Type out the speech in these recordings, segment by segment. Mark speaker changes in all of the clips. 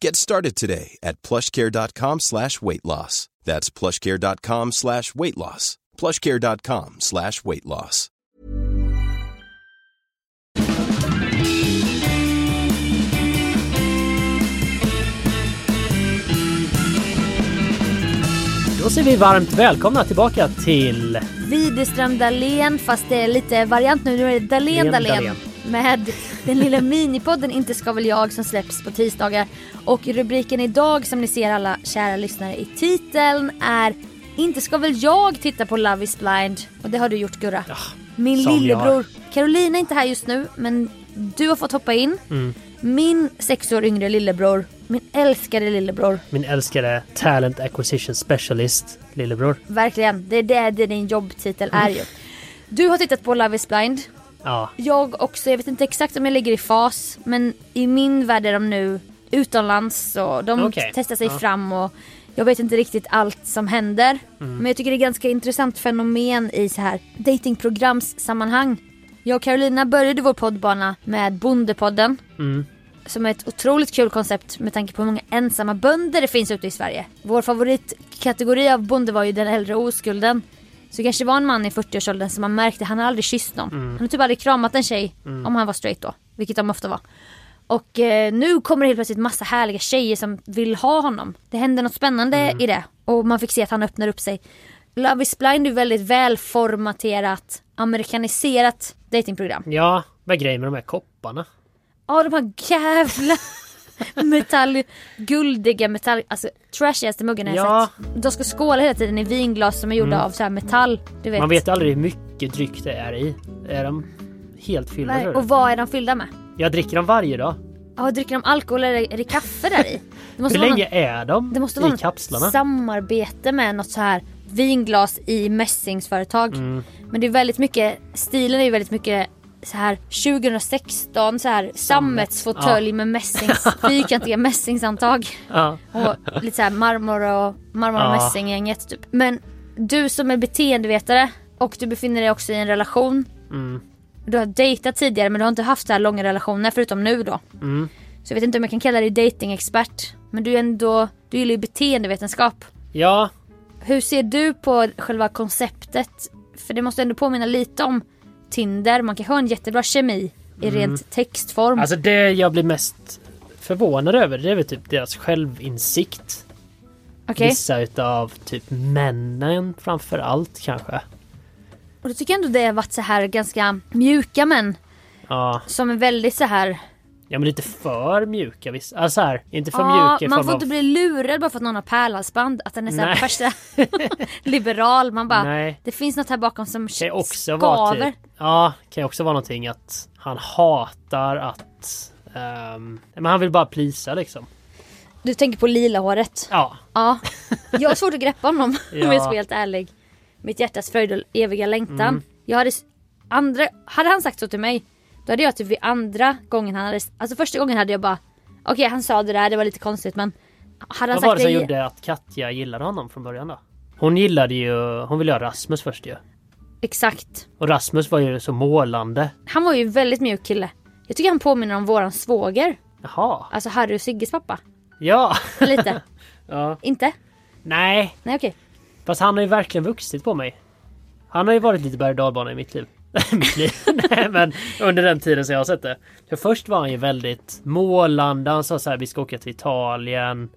Speaker 1: Get started today at plushcare.com slash weight loss. That's plushcare.com slash weight loss. plushcare.com slash weight loss.
Speaker 2: Då säger vi varmt välkomna tillbaka till...
Speaker 3: Widerström Dahlén fast det är lite variant nu. Nu är det Dahlén
Speaker 2: Dahlén,
Speaker 3: Dahlén. Med den lilla minipodden Inte ska väl jag som släpps på tisdagar. Och rubriken idag som ni ser alla kära lyssnare i titeln är Inte ska väl jag titta på Love is blind. Och det har du gjort Gurra. Min
Speaker 2: Ah, som jag
Speaker 3: lillebror.
Speaker 2: har.
Speaker 3: Carolina är inte här just nu men du har fått hoppa in.
Speaker 2: Mm.
Speaker 3: Min sex år yngre lillebror. Min älskade lillebror.
Speaker 2: Min älskade Talent Acquisition Specialist, lillebror.
Speaker 3: Verkligen. Det är det, det din jobbtitel är
Speaker 2: Mm.
Speaker 3: ju. Du har tittat på Love is blind.
Speaker 2: Ja,
Speaker 3: Jag också, jag vet inte exakt om jag ligger i fas men i min värld är de nu utomlands och de
Speaker 2: Okej.
Speaker 3: testar sig fram och jag vet inte riktigt allt som händer. Men jag tycker det är ganska intressant fenomen i så här datingprogramssammanhang. Jag och Carolina började vår poddbana med Bondepodden. Som är ett otroligt kul koncept med tanke på hur många ensamma bönder det finns ute i Sverige. Vår favoritkategori av bonde var ju den äldre oskulden. Så det kanske var en man i 40-årsåldern som man märkte, han har aldrig kysst någon. Han har typ aldrig kramat en tjej, om han var straight då. Vilket de ofta var. Och eh, nu kommer det helt plötsligt massa härliga tjejer som vill ha honom. Det händer något spännande i det. Och man fick se att han öppnar upp sig. Love is blind är väldigt välformaterat, amerikaniserat datingprogram.
Speaker 2: ja vad är grejen med de här kopparna?
Speaker 3: Ja de här jävla metall, guldiga metall, alltså trashigaste muggarna jag
Speaker 2: Ja. Mm.
Speaker 3: sett. De ska skåla hela tiden i vinglas som är gjorda av så här metall. Du vet.
Speaker 2: Man vet aldrig hur mycket dryck det är i. Är de helt fyllda? tror
Speaker 3: Ver-
Speaker 2: du?
Speaker 3: Och vad är de fyllda med?
Speaker 2: Jag dricker dem varje dag.
Speaker 3: Ja, dricker de alkohol eller är det kaffe där i? Det måste
Speaker 2: Hur
Speaker 3: vara
Speaker 2: länge är de
Speaker 3: Det måste
Speaker 2: i
Speaker 3: vara
Speaker 2: kapslarna?
Speaker 3: något samarbete med något så här vinglas i mässingsföretag.
Speaker 2: Mm.
Speaker 3: Men det är väldigt mycket, stilen är ju väldigt mycket så här 2016 så här sammetsfåtölj med mässings, fyrkantiga mässingshandtag.
Speaker 2: Ja.
Speaker 3: Och lite så här marmor och marmor och
Speaker 2: Ja.
Speaker 3: mässinggänget typ. Men du som är beteendevetare och du befinner dig också i en relation. Du har dejtat tidigare men du har inte haft så här långa relationer förutom nu då. Så jag vet inte om jag kan kalla dig datingexpert. Men du är ändå, du gillar ju beteendevetenskap.
Speaker 2: ja,
Speaker 3: Hur ser du på själva konceptet? För det måste ändå påminna lite om Tinder. Man kan ha en jättebra kemi i rent textform.
Speaker 2: alltså det jag blir mest förvånad över det är väl typ deras självinsikt.
Speaker 3: Okej.
Speaker 2: Vissa utav typ männen framför allt kanske.
Speaker 3: Och då tycker jag ändå det har varit så här ganska mjuka män.
Speaker 2: Ja,
Speaker 3: som är väldigt så här
Speaker 2: Ja men lite för mjuka vissa. Alltså så här, inte för
Speaker 3: Ja,
Speaker 2: mjuka i
Speaker 3: man
Speaker 2: form
Speaker 3: får
Speaker 2: av...
Speaker 3: inte bli lurad bara för att någon har pärlhalsband. Att den är så här
Speaker 2: Nej.
Speaker 3: värsta liberal. Man bara,
Speaker 2: Nej.
Speaker 3: det finns något här bakom som
Speaker 2: kan ju också vara
Speaker 3: skaver.
Speaker 2: typ, Ja, kan ju också vara någonting att han hatar att... ehm, men han vill bara plisa liksom.
Speaker 3: Du tänker på lila håret.
Speaker 2: Ja,
Speaker 3: Ja. Jag har svårt att greppa honom om
Speaker 2: Ja. Mm.
Speaker 3: jag ska vara helt ärlig. Mitt hjärtas fröjd och eviga längtan. Jag hade, s- andra, hade han sagt så till mig då hade jag typ vid andra gången han hade, alltså första gången hade jag bara okej han sa det där det var lite konstigt men hade han
Speaker 2: vad var det
Speaker 3: sagt
Speaker 2: som
Speaker 3: det i-
Speaker 2: gjorde att Katja gillade honom från början då? Hon gillade ju... Hon ville ha Rasmus först ju.
Speaker 3: exakt.
Speaker 2: Och Rasmus var ju så målande.
Speaker 3: Han var ju en väldigt mjuk kille. Jag tycker han påminner om våran svåger.
Speaker 2: Jaha.
Speaker 3: Alltså Harry och Sigges pappa.
Speaker 2: Ja.
Speaker 3: Lite.
Speaker 2: ja.
Speaker 3: Inte?
Speaker 2: Nej.
Speaker 3: Nej okej.
Speaker 2: Fast han har ju verkligen vuxit på mig. Han har ju varit lite berg och dalbana i mitt liv. mitt liv. Nej, men under den tiden som jag har sett det. För först var han ju väldigt målande. Han sa så här, vi ska åka till Italien.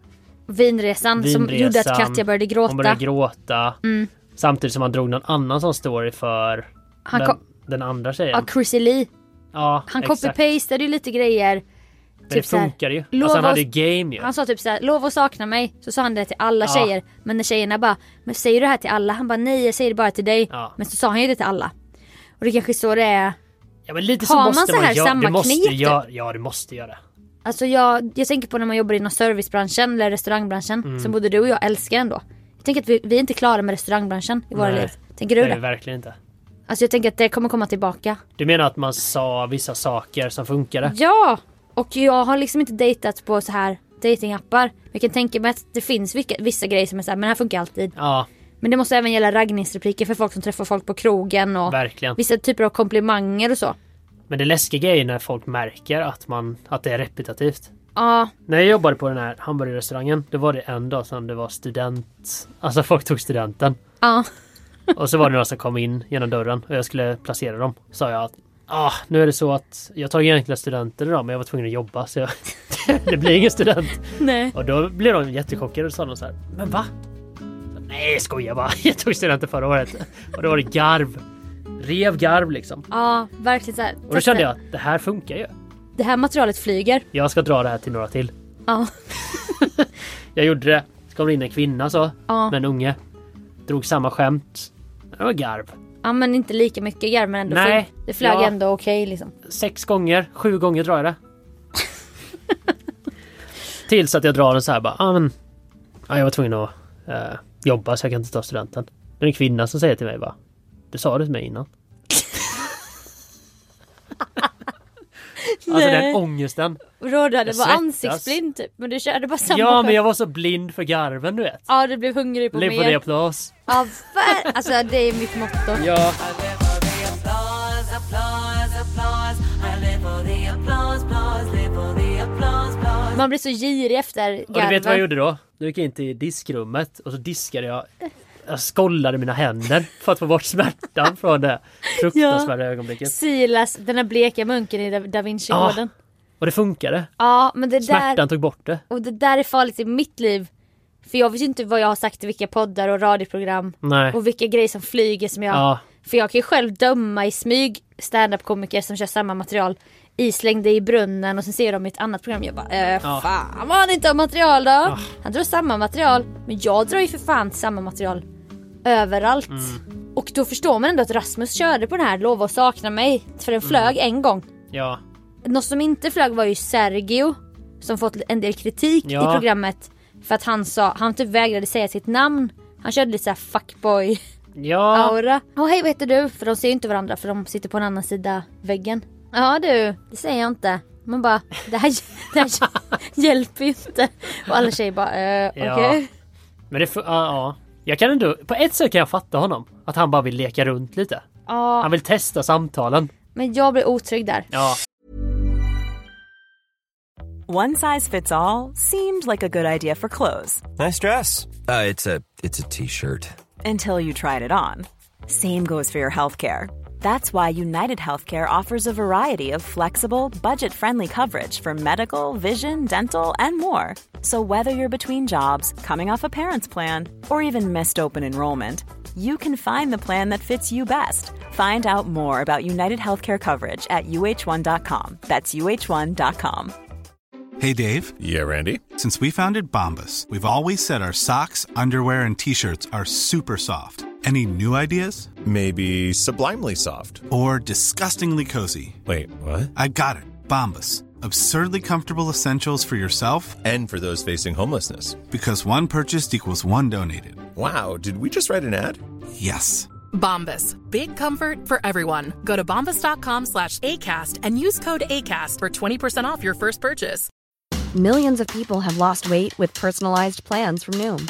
Speaker 3: Vinresan, som
Speaker 2: Vinresan.
Speaker 3: gjorde att Katja började gråta.
Speaker 2: Hon
Speaker 3: Mm.
Speaker 2: började gråta. Samtidigt som han drog någon annan sån story för
Speaker 3: Han
Speaker 2: den,
Speaker 3: kom-
Speaker 2: den andra tjejen.
Speaker 3: ja, Chrissy Lee.
Speaker 2: ja,
Speaker 3: Han
Speaker 2: exakt.
Speaker 3: copy-pastade ju lite grejer.
Speaker 2: Men
Speaker 3: typ så
Speaker 2: det
Speaker 3: här,
Speaker 2: funkade ju.
Speaker 3: lova
Speaker 2: Alltså han hade ju
Speaker 3: oss-
Speaker 2: game ju.
Speaker 3: Han sa typ såhär, lova att sakna mig. Så sa han det till alla
Speaker 2: Ja.
Speaker 3: tjejer. Men när tjejerna bara, men säger du det här till alla? Han bara, nej jag säger det bara till dig.
Speaker 2: Ja.
Speaker 3: Men så sa han ju det till alla. Och det kanske är så det är.
Speaker 2: Ja, men lite
Speaker 3: Har man
Speaker 2: så måste
Speaker 3: så här
Speaker 2: man göra.
Speaker 3: samma
Speaker 2: Du måste
Speaker 3: knep, typ?
Speaker 2: göra. Ja, du måste göra.
Speaker 3: Alltså jag, jag tänker på när man jobbar inom servicebranschen eller restaurangbranschen.
Speaker 2: Mm.
Speaker 3: Som både du och jag älskar ändå. Jag tänker att vi, vi är inte klara med restaurangbranschen i våra
Speaker 2: Nej.
Speaker 3: liv. Tänker du
Speaker 2: Nej,
Speaker 3: det?
Speaker 2: verkligen inte.
Speaker 3: Alltså jag tänker att det kommer komma tillbaka.
Speaker 2: Du menar att man sa vissa saker som funkade?
Speaker 3: Ja! Och jag har liksom inte dejtat på så här datingappar. Men Jag kan tänka mig att det finns vilka, vissa grejer som är såhär, men det här funkar alltid.
Speaker 2: Ja,
Speaker 3: Men det måste även gälla raggningsrepliker för folk som träffar folk på krogen och
Speaker 2: verkligen.
Speaker 3: vissa typer av komplimanger och så.
Speaker 2: Men det läskiga är ju när folk märker att, man, att det är repetitivt.
Speaker 3: Ja,
Speaker 2: När jag jobbade på den här hamburgerrestaurangen, då var det en dag som det var student... Alltså folk tog studenten.
Speaker 3: ja.
Speaker 2: Och så var det några som kom in genom dörren och jag skulle placera dem. Sa jag att ah, nu är det så att jag tar egentligen studenter idag men jag var tvungen att jobba så jag, det blir ingen student.
Speaker 3: Nej.
Speaker 2: Och då blev de jättechockade och sa de så här, men va? Nej skoja bara, jag tog studenten förra året. Och då var det garv. Rev garv liksom.
Speaker 3: Ja, verkligen såhär.
Speaker 2: Och då kände jag att det här funkar ju.
Speaker 3: Det här materialet flyger.
Speaker 2: Jag ska dra det här till några till.
Speaker 3: Ja.
Speaker 2: Jag gjorde det. Så kom det in en kvinna så,
Speaker 3: Ja.
Speaker 2: med en unge. Drog samma skämt. Det var garv.
Speaker 3: ja, men inte lika mycket garv men ändå
Speaker 2: Nej.
Speaker 3: flyg. Det flög
Speaker 2: Ja.
Speaker 3: ändå okej liksom.
Speaker 2: sex gånger, sju gånger drar jag det. Tills att jag drar den så här bara, ah, men, ja, jag var tvungen att eh, jobba så jag kan inte ta studenten. Det är en kvinna som säger till mig bara, det sa du till mig innan. alltså
Speaker 3: Nej.
Speaker 2: den ångesten.
Speaker 3: Och då hade det
Speaker 2: Jag
Speaker 3: var
Speaker 2: svettas.
Speaker 3: ansiktsblind typ. Men du körde bara samma
Speaker 2: Ja men jag
Speaker 3: skämt.
Speaker 2: var så blind för garven du vet.
Speaker 3: Ja, du blev hungrig på
Speaker 2: Live for the
Speaker 3: mer.
Speaker 2: applause.
Speaker 3: Ja, ver- alltså det är mitt motto.
Speaker 2: Ja.
Speaker 3: Man blir så girig efter garven.
Speaker 2: Och du vet vad jag gjorde då? Då gick jag in till diskrummet och så diskade jag. Jag skållade mina händer för att få bort smärtan från det fruktansvärda ögonblicket.
Speaker 3: Silas, den där bleka munken i Da, da Vinci-koden.
Speaker 2: Och det funkade.
Speaker 3: Ja, men det där...
Speaker 2: Ah, Smärtan tog bort det.
Speaker 3: Och det där är farligt i mitt liv. För jag vet ju inte vad jag har sagt i vilka poddar och radioprogram.
Speaker 2: Nej.
Speaker 3: Och vilka grejer som flyger som jag...
Speaker 2: Ja.
Speaker 3: För jag kan ju själv döma i smyg standup-komiker som kör samma material. I slängde i brunnen och sen ser de i ett annat program. Jag bara äh,
Speaker 2: Ja. Ah.
Speaker 3: fan vad han inte har material då. Han drar samma material. Men jag drar ju för fan samma material överallt.
Speaker 2: Mm.
Speaker 3: Och då förstår man ändå att Rasmus körde på den här lova att sakna mig. För den flög
Speaker 2: Mm.
Speaker 3: en gång.
Speaker 2: Ja.
Speaker 3: Något som inte flög var ju Sergio som fått en del kritik
Speaker 2: Ja.
Speaker 3: i programmet för att han sa, han typ vägrade säga sitt namn. Han körde lite såhär fuckboy
Speaker 2: Ja.
Speaker 3: aura. Åh hej vad heter du? För de ser ju inte varandra för de sitter på en annan sida väggen. Ja du, det säger jag inte. Man bara, det här, det här hjälper ju inte. Och alla tjejer bara, eh, okej.
Speaker 2: Ja. Men det... fu- Ja, ja. Jag kan ändå... På ett sätt kan jag fatta honom. Att han bara vill leka runt lite.
Speaker 3: Ja,
Speaker 2: Han vill testa samtalen.
Speaker 3: men jag blir otrygg där.
Speaker 2: Ja.
Speaker 4: One size fits all seemed like a good idea for clothes
Speaker 5: Nice dress. Uh, it's a it's a t-shirt.
Speaker 4: until you tried it on. Same goes for your healthcare. That's why United Healthcare offers a variety of flexible, budget friendly coverage for medical, vision, dental, and more. So, whether you're between jobs, coming off a parent's plan, or even missed open enrollment, you can find the plan that fits you best. Find out more about United Healthcare coverage at uh1.com. That's uh1.com.
Speaker 6: Hey, Dave.
Speaker 1: Yeah, Randy.
Speaker 6: Since we founded Bombus, we've always said our socks, underwear, and t shirts are super soft. Any new ideas?
Speaker 1: Maybe sublimely soft.
Speaker 6: Or disgustingly cozy?
Speaker 1: Wait, what?
Speaker 6: I got it. Bombus. Absurdly comfortable essentials for yourself
Speaker 1: And for those facing homelessness.
Speaker 6: because one purchased equals one donated.
Speaker 1: Wow, did we just write an ad?
Speaker 6: Yes.
Speaker 7: Bombas. Big comfort for everyone. Go to bombas.com slash ACAST and use code ACAST for 20% off your first purchase.
Speaker 8: Millions of people have lost weight with personalized plans from Noom,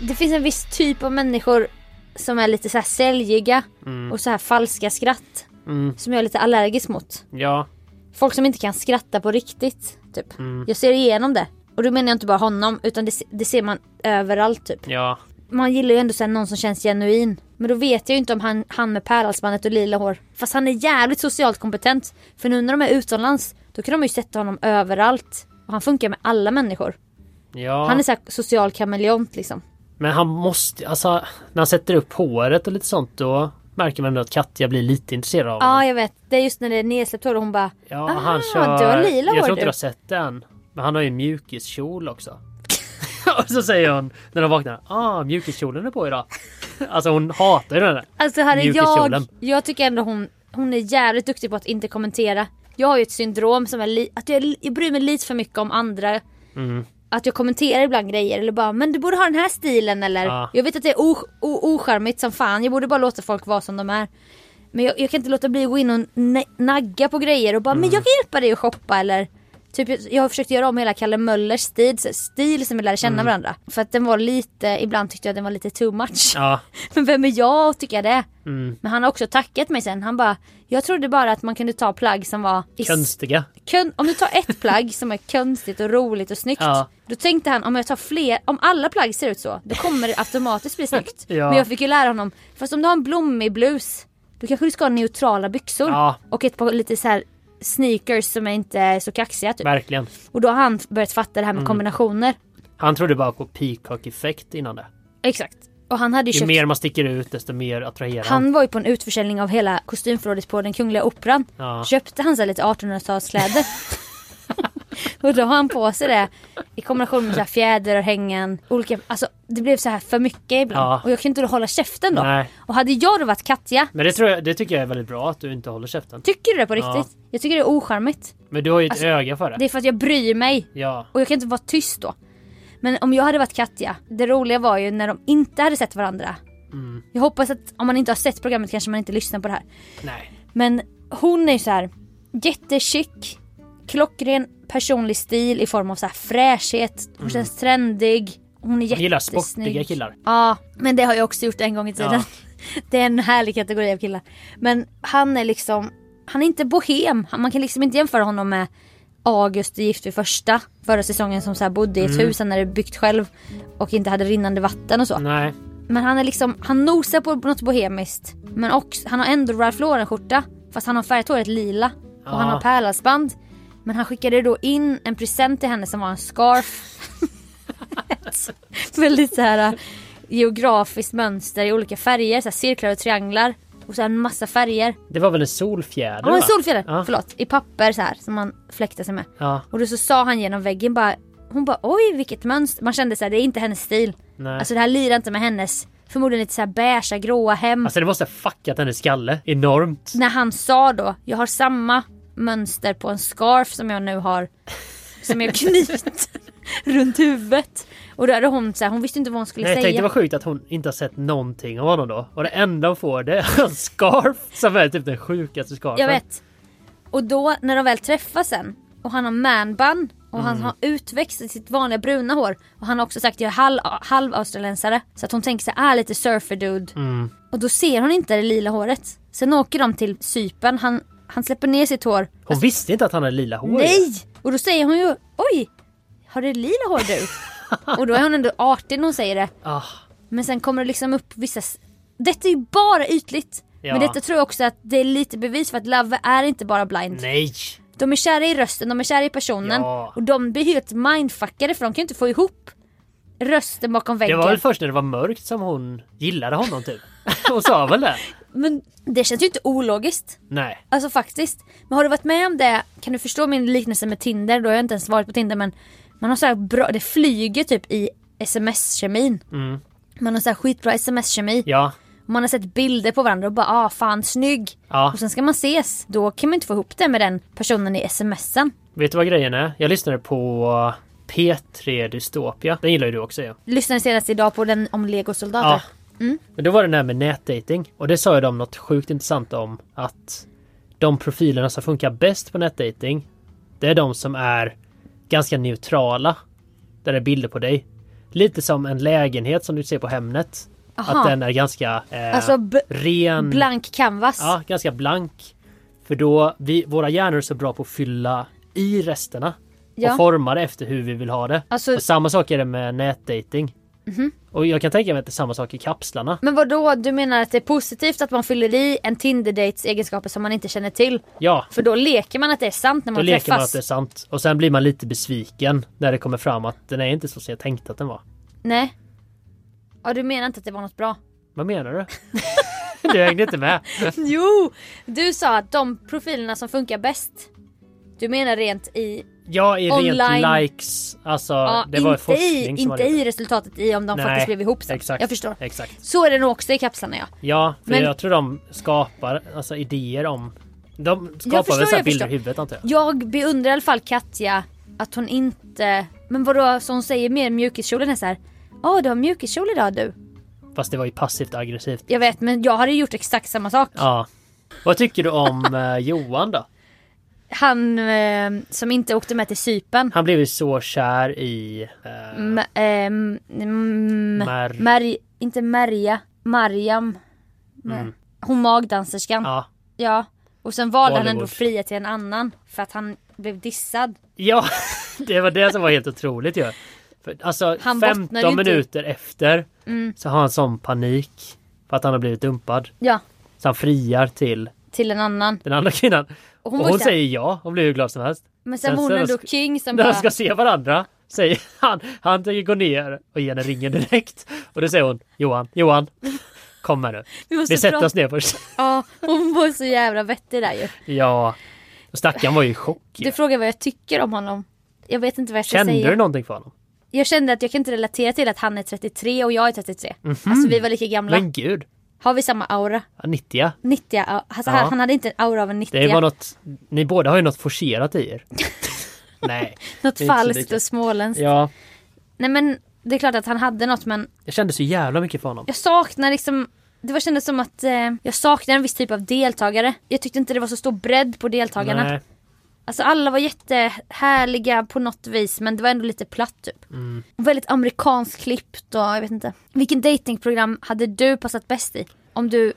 Speaker 3: Det finns en viss typ av människor som är lite så här säljiga och så här falska skratt.
Speaker 2: Mm.
Speaker 3: Som jag är lite allergisk mot.
Speaker 2: Ja.
Speaker 3: Folk som inte kan skratta på riktigt. Typ.
Speaker 2: Mm.
Speaker 3: Jag ser igenom det. Och då menar jag inte bara honom utan det, se- det ser man överallt typ.
Speaker 2: Ja.
Speaker 3: Man gillar ju ändå så här någon som känns genuin. Men då vet jag ju inte om han, han med pärlhalsbandet och lila hår. Fast han är jävligt socialt kompetent. För nu när de är utomlands då kan de ju sätta honom överallt. Och han funkar med alla människor.
Speaker 2: Ja.
Speaker 3: Han är så här social kameleont liksom.
Speaker 2: Men han måste, alltså när han sätter upp håret och lite sånt då märker man ändå att Katja blir lite intresserad av
Speaker 3: Ja
Speaker 2: honom.
Speaker 3: jag vet, det är just när det är nedsläppt hår och hon bara
Speaker 2: Ja,
Speaker 3: "Aha,
Speaker 2: han kör...
Speaker 3: Ah, du har lila
Speaker 2: jag
Speaker 3: hår
Speaker 2: tror inte
Speaker 3: du.
Speaker 2: du har sett den. Men han har ju en mjukiskjol också. och så säger hon när hon vaknar. Ah, mjukiskjolen är på idag. alltså hon hatar ju den där.
Speaker 3: Alltså hade jag,
Speaker 2: mjukiskjolen.
Speaker 3: jag tycker ändå hon, hon är jävligt duktig på att inte kommentera. Jag har ju ett syndrom som är li, att jag, li- jag bryr mig lite för mycket om andra. Att jag kommenterar ibland grejer eller bara men du borde ha den här stilen eller
Speaker 2: Ja.
Speaker 3: Jag vet att det är o- o- ocharmigt som fan, jag borde bara låta folk vara som de är. Men jag, jag kan inte låta bli att gå in och na- nagga på grejer och bara men jag kan hjälpa dig att shoppa eller Typ jag- jag har försökt göra om hela Kalle Möllers stil, så- stil som vi lärde känna varandra. För att den var lite, ibland tyckte jag den var lite too much.
Speaker 2: Ja,
Speaker 3: Men vem är jag att tycka det?
Speaker 2: Mm.
Speaker 3: Men han har också tackat mig sen. Han bara, jag trodde bara att man kunde ta plagg som var... i s-
Speaker 2: konstiga.
Speaker 3: kun- om du tar ett plagg som är konstigt och roligt och snyggt.
Speaker 2: Ja.
Speaker 3: Då tänkte han om jag tar fler, om alla plagg ser ut så, då kommer det automatiskt bli snyggt.
Speaker 2: Ja.
Speaker 3: Men jag fick ju lära honom, fast om du har en blommig blus, då kanske du ska ha neutrala byxor.
Speaker 2: Ja.
Speaker 3: Och ett par lite så här sneakers som är inte är så kaxiga typ.
Speaker 2: Verkligen.
Speaker 3: Och då har han börjat fatta det här med
Speaker 2: Mm.
Speaker 3: kombinationer.
Speaker 2: Han trodde bara på peacock-effekt innan det.
Speaker 3: Exakt. Och han hade ju
Speaker 2: Ju
Speaker 3: köpt
Speaker 2: mer man sticker ut desto mer attraherar han.
Speaker 3: Han var ju på en utförsäljning av hela kostymförrådet på den kungliga operan.
Speaker 2: Ja.
Speaker 3: Köpte han så här lite 1800-talskläder. och då har han på sig det i kombination med så här fjäder och hängen. Olika, alltså det blev så här för mycket ibland.
Speaker 2: Ja.
Speaker 3: Och jag kunde inte då hålla käften då.
Speaker 2: Nej.
Speaker 3: Och hade jag då varit Katja,
Speaker 2: Men det, tror jag, det tycker jag är väldigt bra att du inte håller käften.
Speaker 3: tycker du det på
Speaker 2: Ja.
Speaker 3: riktigt? Jag tycker det är ocharmigt.
Speaker 2: Men du har ju ett
Speaker 3: Alltså,
Speaker 2: öga för det.
Speaker 3: Det är för att jag bryr mig.
Speaker 2: Ja.
Speaker 3: Och jag kan inte vara tyst då. Men om jag hade varit Katja, det roliga var ju när de inte hade sett varandra.
Speaker 2: Mm.
Speaker 3: Jag hoppas att om man inte har sett programmet kanske man inte lyssnar på det här.
Speaker 2: Nej.
Speaker 3: Men hon är ju så här jättechick, klockren personlig stil i form av så här fräschhet. Hon känns trendig. Hon är
Speaker 2: Mm. Hon gillar
Speaker 3: jättesnygg.
Speaker 2: sportiga killar.
Speaker 3: Ja, men det har jag också gjort en gång i tiden.
Speaker 2: Ja.
Speaker 3: Det är en härlig kategori av killar. Men han är liksom, han är inte bohem. Han- Man kan liksom inte jämföra honom med August i Gift vid första förra säsongen som så här bodde i ett
Speaker 2: Mm.
Speaker 3: hus han hade byggt själv och inte hade rinnande vatten och så.
Speaker 2: Nej.
Speaker 3: Men han är liksom, han nosar på något bohemiskt. Men också, han har ändå Ralph Lauren skjorta. Fast han har färgat håret lila. Och
Speaker 2: Ja.
Speaker 3: han har pärlhalsband. Men han skickade då in en present till henne som var en scarf. Ett Väldigt så här äh, geografiskt mönster i olika färger. Så här cirklar och trianglar. Och så här en massa färger.
Speaker 2: Det var väl en solfjäder?
Speaker 3: Ja, en
Speaker 2: va?
Speaker 3: solfjäder!
Speaker 2: Ja.
Speaker 3: Förlåt. I papper så här som man fläktar sig med.
Speaker 2: Ja.
Speaker 3: Och då så sa han genom väggen bara Hon bara oj vilket mönster. Man kände så här, det är inte hennes stil.
Speaker 2: Nej.
Speaker 3: Alltså det här lirar inte med hennes förmodligen lite så här beigea, gråa hem.
Speaker 2: Alltså det måste ha fuckat hennes skalle enormt.
Speaker 3: När han sa då, jag har samma mönster på en scarf som jag nu har, som jag knyter runt huvudet. Och då hade hon så här, hon visste inte vad hon skulle
Speaker 2: Nej,
Speaker 3: säga.
Speaker 2: tänk det var sjukt att hon inte har sett någonting av honom då. Och det enda hon får det är en scarf som är typ den sjukaste scarfen.
Speaker 3: Jag vet. Och då när de väl träffas sen och han har manbun och han
Speaker 2: Mm.
Speaker 3: har utväxt i sitt vanliga bruna hår och han har också sagt jag är halv, halv australiensare så att hon tänker sig är lite surferdude
Speaker 2: Mm.
Speaker 3: och då ser hon inte det lila håret. Sen åker de till Cypern, han, han släpper ner sitt hår.
Speaker 2: Hon visste inte att han hade lila hår.
Speaker 3: Nej! Och då säger hon ju oj, har du lila hår du? och då är hon ändå artig när hon säger det.
Speaker 2: Ah.
Speaker 3: Men sen kommer det liksom upp vissa... s- Detta är ju bara ytligt.
Speaker 2: Ja.
Speaker 3: Men detta tror jag också att det är lite bevis för att Love är inte bara blind.
Speaker 2: Nej!
Speaker 3: De är kära i rösten, de är kära i personen.
Speaker 2: Ja.
Speaker 3: Och de blir helt mindfuckade för de kan ju inte få ihop rösten bakom
Speaker 2: Det
Speaker 3: väggen.
Speaker 2: var väl först när det var mörkt som hon gillade honom typ. Hon sa väl det?
Speaker 3: Men det känns ju inte ologiskt.
Speaker 2: Nej.
Speaker 3: Alltså faktiskt. Men har du varit med om det, kan du förstå min liknelse med Tinder? Då har jag inte ens varit på Tinder men man har så här bra, det flyger typ i sms-kemin.
Speaker 2: Mm.
Speaker 3: Man har så här skitbra sms-kemi.
Speaker 2: Ja.
Speaker 3: Man har sett bilder på varandra och bara ah fan snygg.
Speaker 2: Ja.
Speaker 3: Och sen ska man ses. Då kan man inte få ihop det med den personen i smsen.
Speaker 2: Vet du vad grejen är? Jag lyssnade på P3 Dystopia. Den gillar ju du också ju. Ja.
Speaker 3: Lyssnade senast idag på den om legosoldater.
Speaker 2: Ja.
Speaker 3: Mm.
Speaker 2: Men då var det den här med nätdating och det sa ju de något sjukt intressant om att de profilerna som funkar bäst på nätdating det är de som är ganska neutrala. Där det är bilder på dig. Lite som en lägenhet som du ser på Hemnet.
Speaker 3: Aha.
Speaker 2: Att den är ganska eh,
Speaker 3: Alltså, b-
Speaker 2: ren.
Speaker 3: Blank canvas.
Speaker 2: Mm. Ja, ganska blank. För då, vi, våra hjärnor är så bra på att fylla i resterna.
Speaker 3: Ja.
Speaker 2: Och forma det efter hur vi vill ha det.
Speaker 3: Alltså-
Speaker 2: Och samma sak är det med nätdating.
Speaker 3: Mhm.
Speaker 2: Och jag kan tänka mig att det är samma sak i kapslarna.
Speaker 3: Men vad då? du menar att det är positivt att man fyller i en Tinder-dates egenskaper som man inte känner till?
Speaker 2: Ja,
Speaker 3: För då leker man att det är sant när
Speaker 2: då
Speaker 3: man
Speaker 2: leker man
Speaker 3: träffas.
Speaker 2: att det är sant. Och sen blir man lite besviken när det kommer fram att den är inte så som jag tänkte att den var.
Speaker 3: Nej. Ja du menar inte att det var något bra?
Speaker 2: Vad menar du? du hängde inte med.
Speaker 3: jo! Du sa att de profilerna som funkar bäst. Du menar rent i...
Speaker 2: Jag är
Speaker 3: Online.
Speaker 2: rent likes. Alltså,
Speaker 3: Ja,
Speaker 2: det var ju
Speaker 3: inte i,
Speaker 2: forskning som
Speaker 3: inte
Speaker 2: hade gjort
Speaker 3: i resultatet i om de
Speaker 2: Nej,
Speaker 3: faktiskt blev ihop sen.
Speaker 2: exakt,
Speaker 3: jag förstår.
Speaker 2: exakt.
Speaker 3: Så är det nog också i kapslarna ja.
Speaker 2: Ja, för
Speaker 3: Men-
Speaker 2: jag tror de skapar alltså, idéer om... De
Speaker 3: Jag
Speaker 2: skapar
Speaker 3: förstår,
Speaker 2: väl så här
Speaker 3: jag
Speaker 2: bilder
Speaker 3: förstår.
Speaker 2: i huvudet antar jag.
Speaker 3: Jag beundrar i alla fall Katja att hon inte... Men vadå, så hon säger mer mjukiskjolen är såhär. Ja du har mjukiskjol idag du.
Speaker 2: Fast det var ju passivt aggressivt.
Speaker 3: Jag vet men jag hade gjort exakt samma sak.
Speaker 2: Ja. Vad tycker du om eh, Johan då?
Speaker 3: Han eh, som inte åkte med till Cypern.
Speaker 2: Han blev ju så kär i... eh,
Speaker 3: M- ehm, mm,
Speaker 2: Mar-
Speaker 3: Mar- inte Maria, Mariam. Ma-
Speaker 2: Mm.
Speaker 3: Hon magdanserskan.
Speaker 2: Ja.
Speaker 3: Ja. Och sen valde han ändå
Speaker 2: Hollywood.
Speaker 3: fria till en annan för att han blev dissad.
Speaker 2: Ja, det var det som var helt otroligt ju. För, alltså
Speaker 3: Han bottnar ju
Speaker 2: 15
Speaker 3: inte i-
Speaker 2: minuter efter
Speaker 3: Mm.
Speaker 2: så har han sån panik för att han har blivit dumpad.
Speaker 3: Ja,
Speaker 2: Så han friar till
Speaker 3: till en annan.
Speaker 2: den andra kvinnan. Och
Speaker 3: Och hon
Speaker 2: hon,
Speaker 3: var ju så här-
Speaker 2: säger ja, hon blir hur glad som helst.
Speaker 3: Men sen var hon
Speaker 2: när
Speaker 3: ändå
Speaker 2: de sk-
Speaker 3: king som
Speaker 2: När
Speaker 3: bara...
Speaker 2: de ska se varandra säger han, han tänker gå ner och ge henne ringen direkt. Och då säger hon, Johan, Johan, kom här nu.
Speaker 3: Vi
Speaker 2: Vi,
Speaker 3: måste
Speaker 2: sätter
Speaker 3: prata."
Speaker 2: oss ner först.
Speaker 3: Ja, hon var så jävla vettig där ju.
Speaker 2: Ja, och stackaren var ju i chock.
Speaker 3: Du frågar vad jag tycker om honom. Jag vet inte vad jag ska
Speaker 2: Kände
Speaker 3: säga.
Speaker 2: du någonting för honom?
Speaker 3: Jag kände att jag kan inte relatera till att han är 33 och jag är 33.
Speaker 2: Mhm.
Speaker 3: Alltså vi var lika gamla.
Speaker 2: Men gud,
Speaker 3: Har vi samma aura?
Speaker 2: ja, 90
Speaker 3: 90 alltså,
Speaker 2: Ja.
Speaker 3: han- Han hade inte en aura av en 90
Speaker 2: Det var något, ni båda har ju något forcerat i er. Nej.
Speaker 3: Något
Speaker 2: det är inte så
Speaker 3: falskt
Speaker 2: lika.
Speaker 3: och småländskt.
Speaker 2: Ja,
Speaker 3: Nej men det är klart att han hade något men
Speaker 2: jag kände så jävla mycket för honom.
Speaker 3: jag saknar liksom det var kändes som att eh, jag saknade en viss typ av deltagare. Jag tyckte inte det var så stor bredd på deltagarna.
Speaker 2: Nej.
Speaker 3: Alltså alla var jättehärliga på något vis men det var ändå lite platt typ.
Speaker 2: Mm.
Speaker 3: Väldigt amerikanskt klippt och jag vet inte. Vilken datingprogram hade du passat bäst i? Om du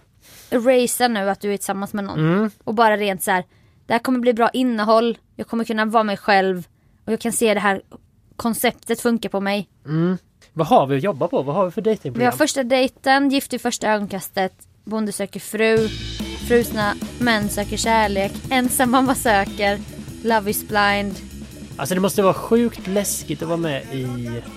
Speaker 3: erasar nu att du är tillsammans med någon
Speaker 2: Mm.
Speaker 3: och bara rent så här. Det här kommer bli bra innehåll, jag kommer kunna vara mig själv och jag kan se det här konceptet funkar på mig.
Speaker 2: Mm. Vad har vi att jobba på? Vad har vi för
Speaker 3: Vi har
Speaker 2: dejtingprogram?
Speaker 3: första dejten, Gift i första ögonkastet, Bonde söker fru, Frusna män söker kärlek, Ensam mamma söker, Love is blind.
Speaker 2: Alltså det måste vara sjukt läskigt att vara med i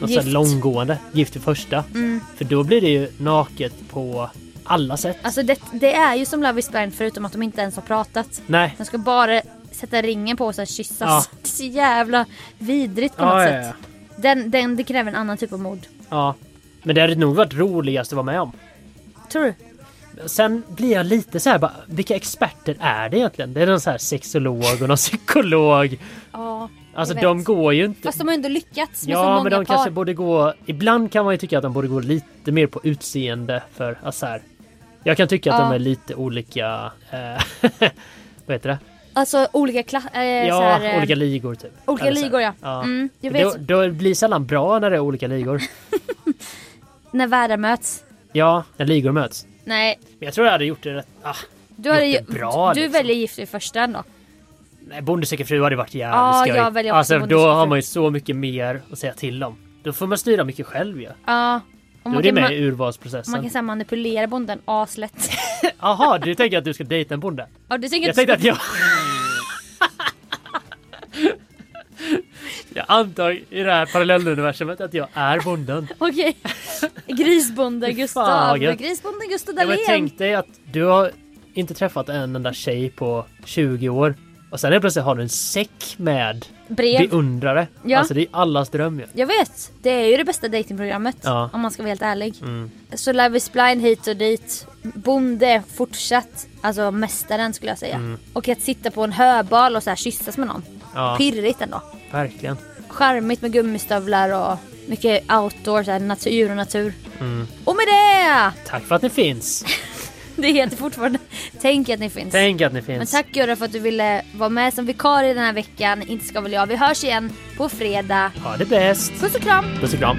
Speaker 2: något
Speaker 3: Gift.
Speaker 2: sånt långgående. Gift i första.
Speaker 3: Mm.
Speaker 2: För då blir det ju naket på alla sätt.
Speaker 3: Alltså det, det är ju som Love is blind förutom att de inte ens har pratat.
Speaker 2: Nej.
Speaker 3: De ska bara sätta ringen på och sen kyssas.
Speaker 2: Ja.
Speaker 3: Det är så jävla vidrigt på
Speaker 2: Ja,
Speaker 3: något
Speaker 2: ja,
Speaker 3: sätt. Den, den, det kräver en annan typ av mod.
Speaker 2: Ja. Men det hade nog varit roligast att vara med om.
Speaker 3: Tror du?
Speaker 2: Sen blir jag lite så här bara, vilka experter är det egentligen? Det är någon så här sexolog och någon psykolog.
Speaker 3: Ja.
Speaker 2: Alltså
Speaker 3: jag
Speaker 2: de
Speaker 3: vet.
Speaker 2: går ju inte...
Speaker 3: Fast de har ju ändå lyckats med så
Speaker 2: Ja,
Speaker 3: många
Speaker 2: men de
Speaker 3: par.
Speaker 2: kanske borde gå... Ibland kan man ju tycka att de borde gå lite mer på utseende för alltså så här. Jag kan tycka att
Speaker 3: Ja.
Speaker 2: de är lite olika... Eh, vad heter det?
Speaker 3: Alltså olika klass... Eh,
Speaker 2: Ja,
Speaker 3: så här, eh,
Speaker 2: olika ligor typ.
Speaker 3: olika
Speaker 2: Eller så här.
Speaker 3: ligor, ja. Mm, jag
Speaker 2: Då,
Speaker 3: vet.
Speaker 2: då blir det sällan bra när det är olika ligor.
Speaker 3: När världar möts.
Speaker 2: ja, när ligor möts.
Speaker 3: Nej.
Speaker 2: Men jag tror jag hade gjort det rätt... Ah,
Speaker 3: Du, hade, ju-
Speaker 2: gjort det bra
Speaker 3: du
Speaker 2: liksom.
Speaker 3: väljer gift i första ändå.
Speaker 2: Nej, Bonde söker fru hade varit jävligt
Speaker 3: Ja,
Speaker 2: skoj.
Speaker 3: jag väljer också
Speaker 2: Alltså
Speaker 3: Bonde
Speaker 2: då
Speaker 3: söker
Speaker 2: har
Speaker 3: fru.
Speaker 2: man ju så mycket mer att säga till om. Då får man styra mycket själv ju. Ja.
Speaker 3: Ja. Om
Speaker 2: Då är
Speaker 3: man,
Speaker 2: det
Speaker 3: kan
Speaker 2: med liksom. i
Speaker 3: ma-
Speaker 2: urvalsprocessen.
Speaker 3: man kan säga manipulera bonden aslätt.
Speaker 2: Jaha, du tänker att du ska dejta en bonde?
Speaker 3: Ja, du tänker
Speaker 2: Jag tänkte att jag... jag antar i det här parallelluniversumet att jag är bonden.
Speaker 3: Okej. Grisbonden
Speaker 2: Fan,
Speaker 3: Gustav.
Speaker 2: vad gött.
Speaker 3: Grisbonden Gustav
Speaker 2: Ja, men
Speaker 3: Dahlén.
Speaker 2: tänk dig att du har inte träffat en enda tjej på 20 år och sen helt plötsligt har du en säck med
Speaker 3: Brev.
Speaker 2: beundrare.
Speaker 3: Ja.
Speaker 2: Alltså det är allas dröm ju.
Speaker 3: Jag vet. Det är ju det bästa datingprogrammet.
Speaker 2: Ja.
Speaker 3: Om man ska vara helt ärlig.
Speaker 2: Mm.
Speaker 3: Så Love is blind hit och dit. Bonde fortsatt, alltså mästaren skulle jag säga.
Speaker 2: Mm.
Speaker 3: Och att sitta på en höbal och så här kyssas med någon.
Speaker 2: Ja.
Speaker 3: Pirrigt ändå.
Speaker 2: Verkligen.
Speaker 3: Charmigt med gummistövlar och mycket outdoor, så här natur och natur.
Speaker 2: Mm.
Speaker 3: Och med det!
Speaker 2: Tack för att ni finns.
Speaker 3: Det heter fortfarande Tänk att ni finns.
Speaker 2: Tänk att ni finns.
Speaker 3: Men tack Gurra för att du ville vara med som vikarie den här veckan. Inte ska väl jag. Vi hörs igen på fredag.
Speaker 2: Ha det bäst.
Speaker 3: Puss och kram!
Speaker 2: Puss och kram.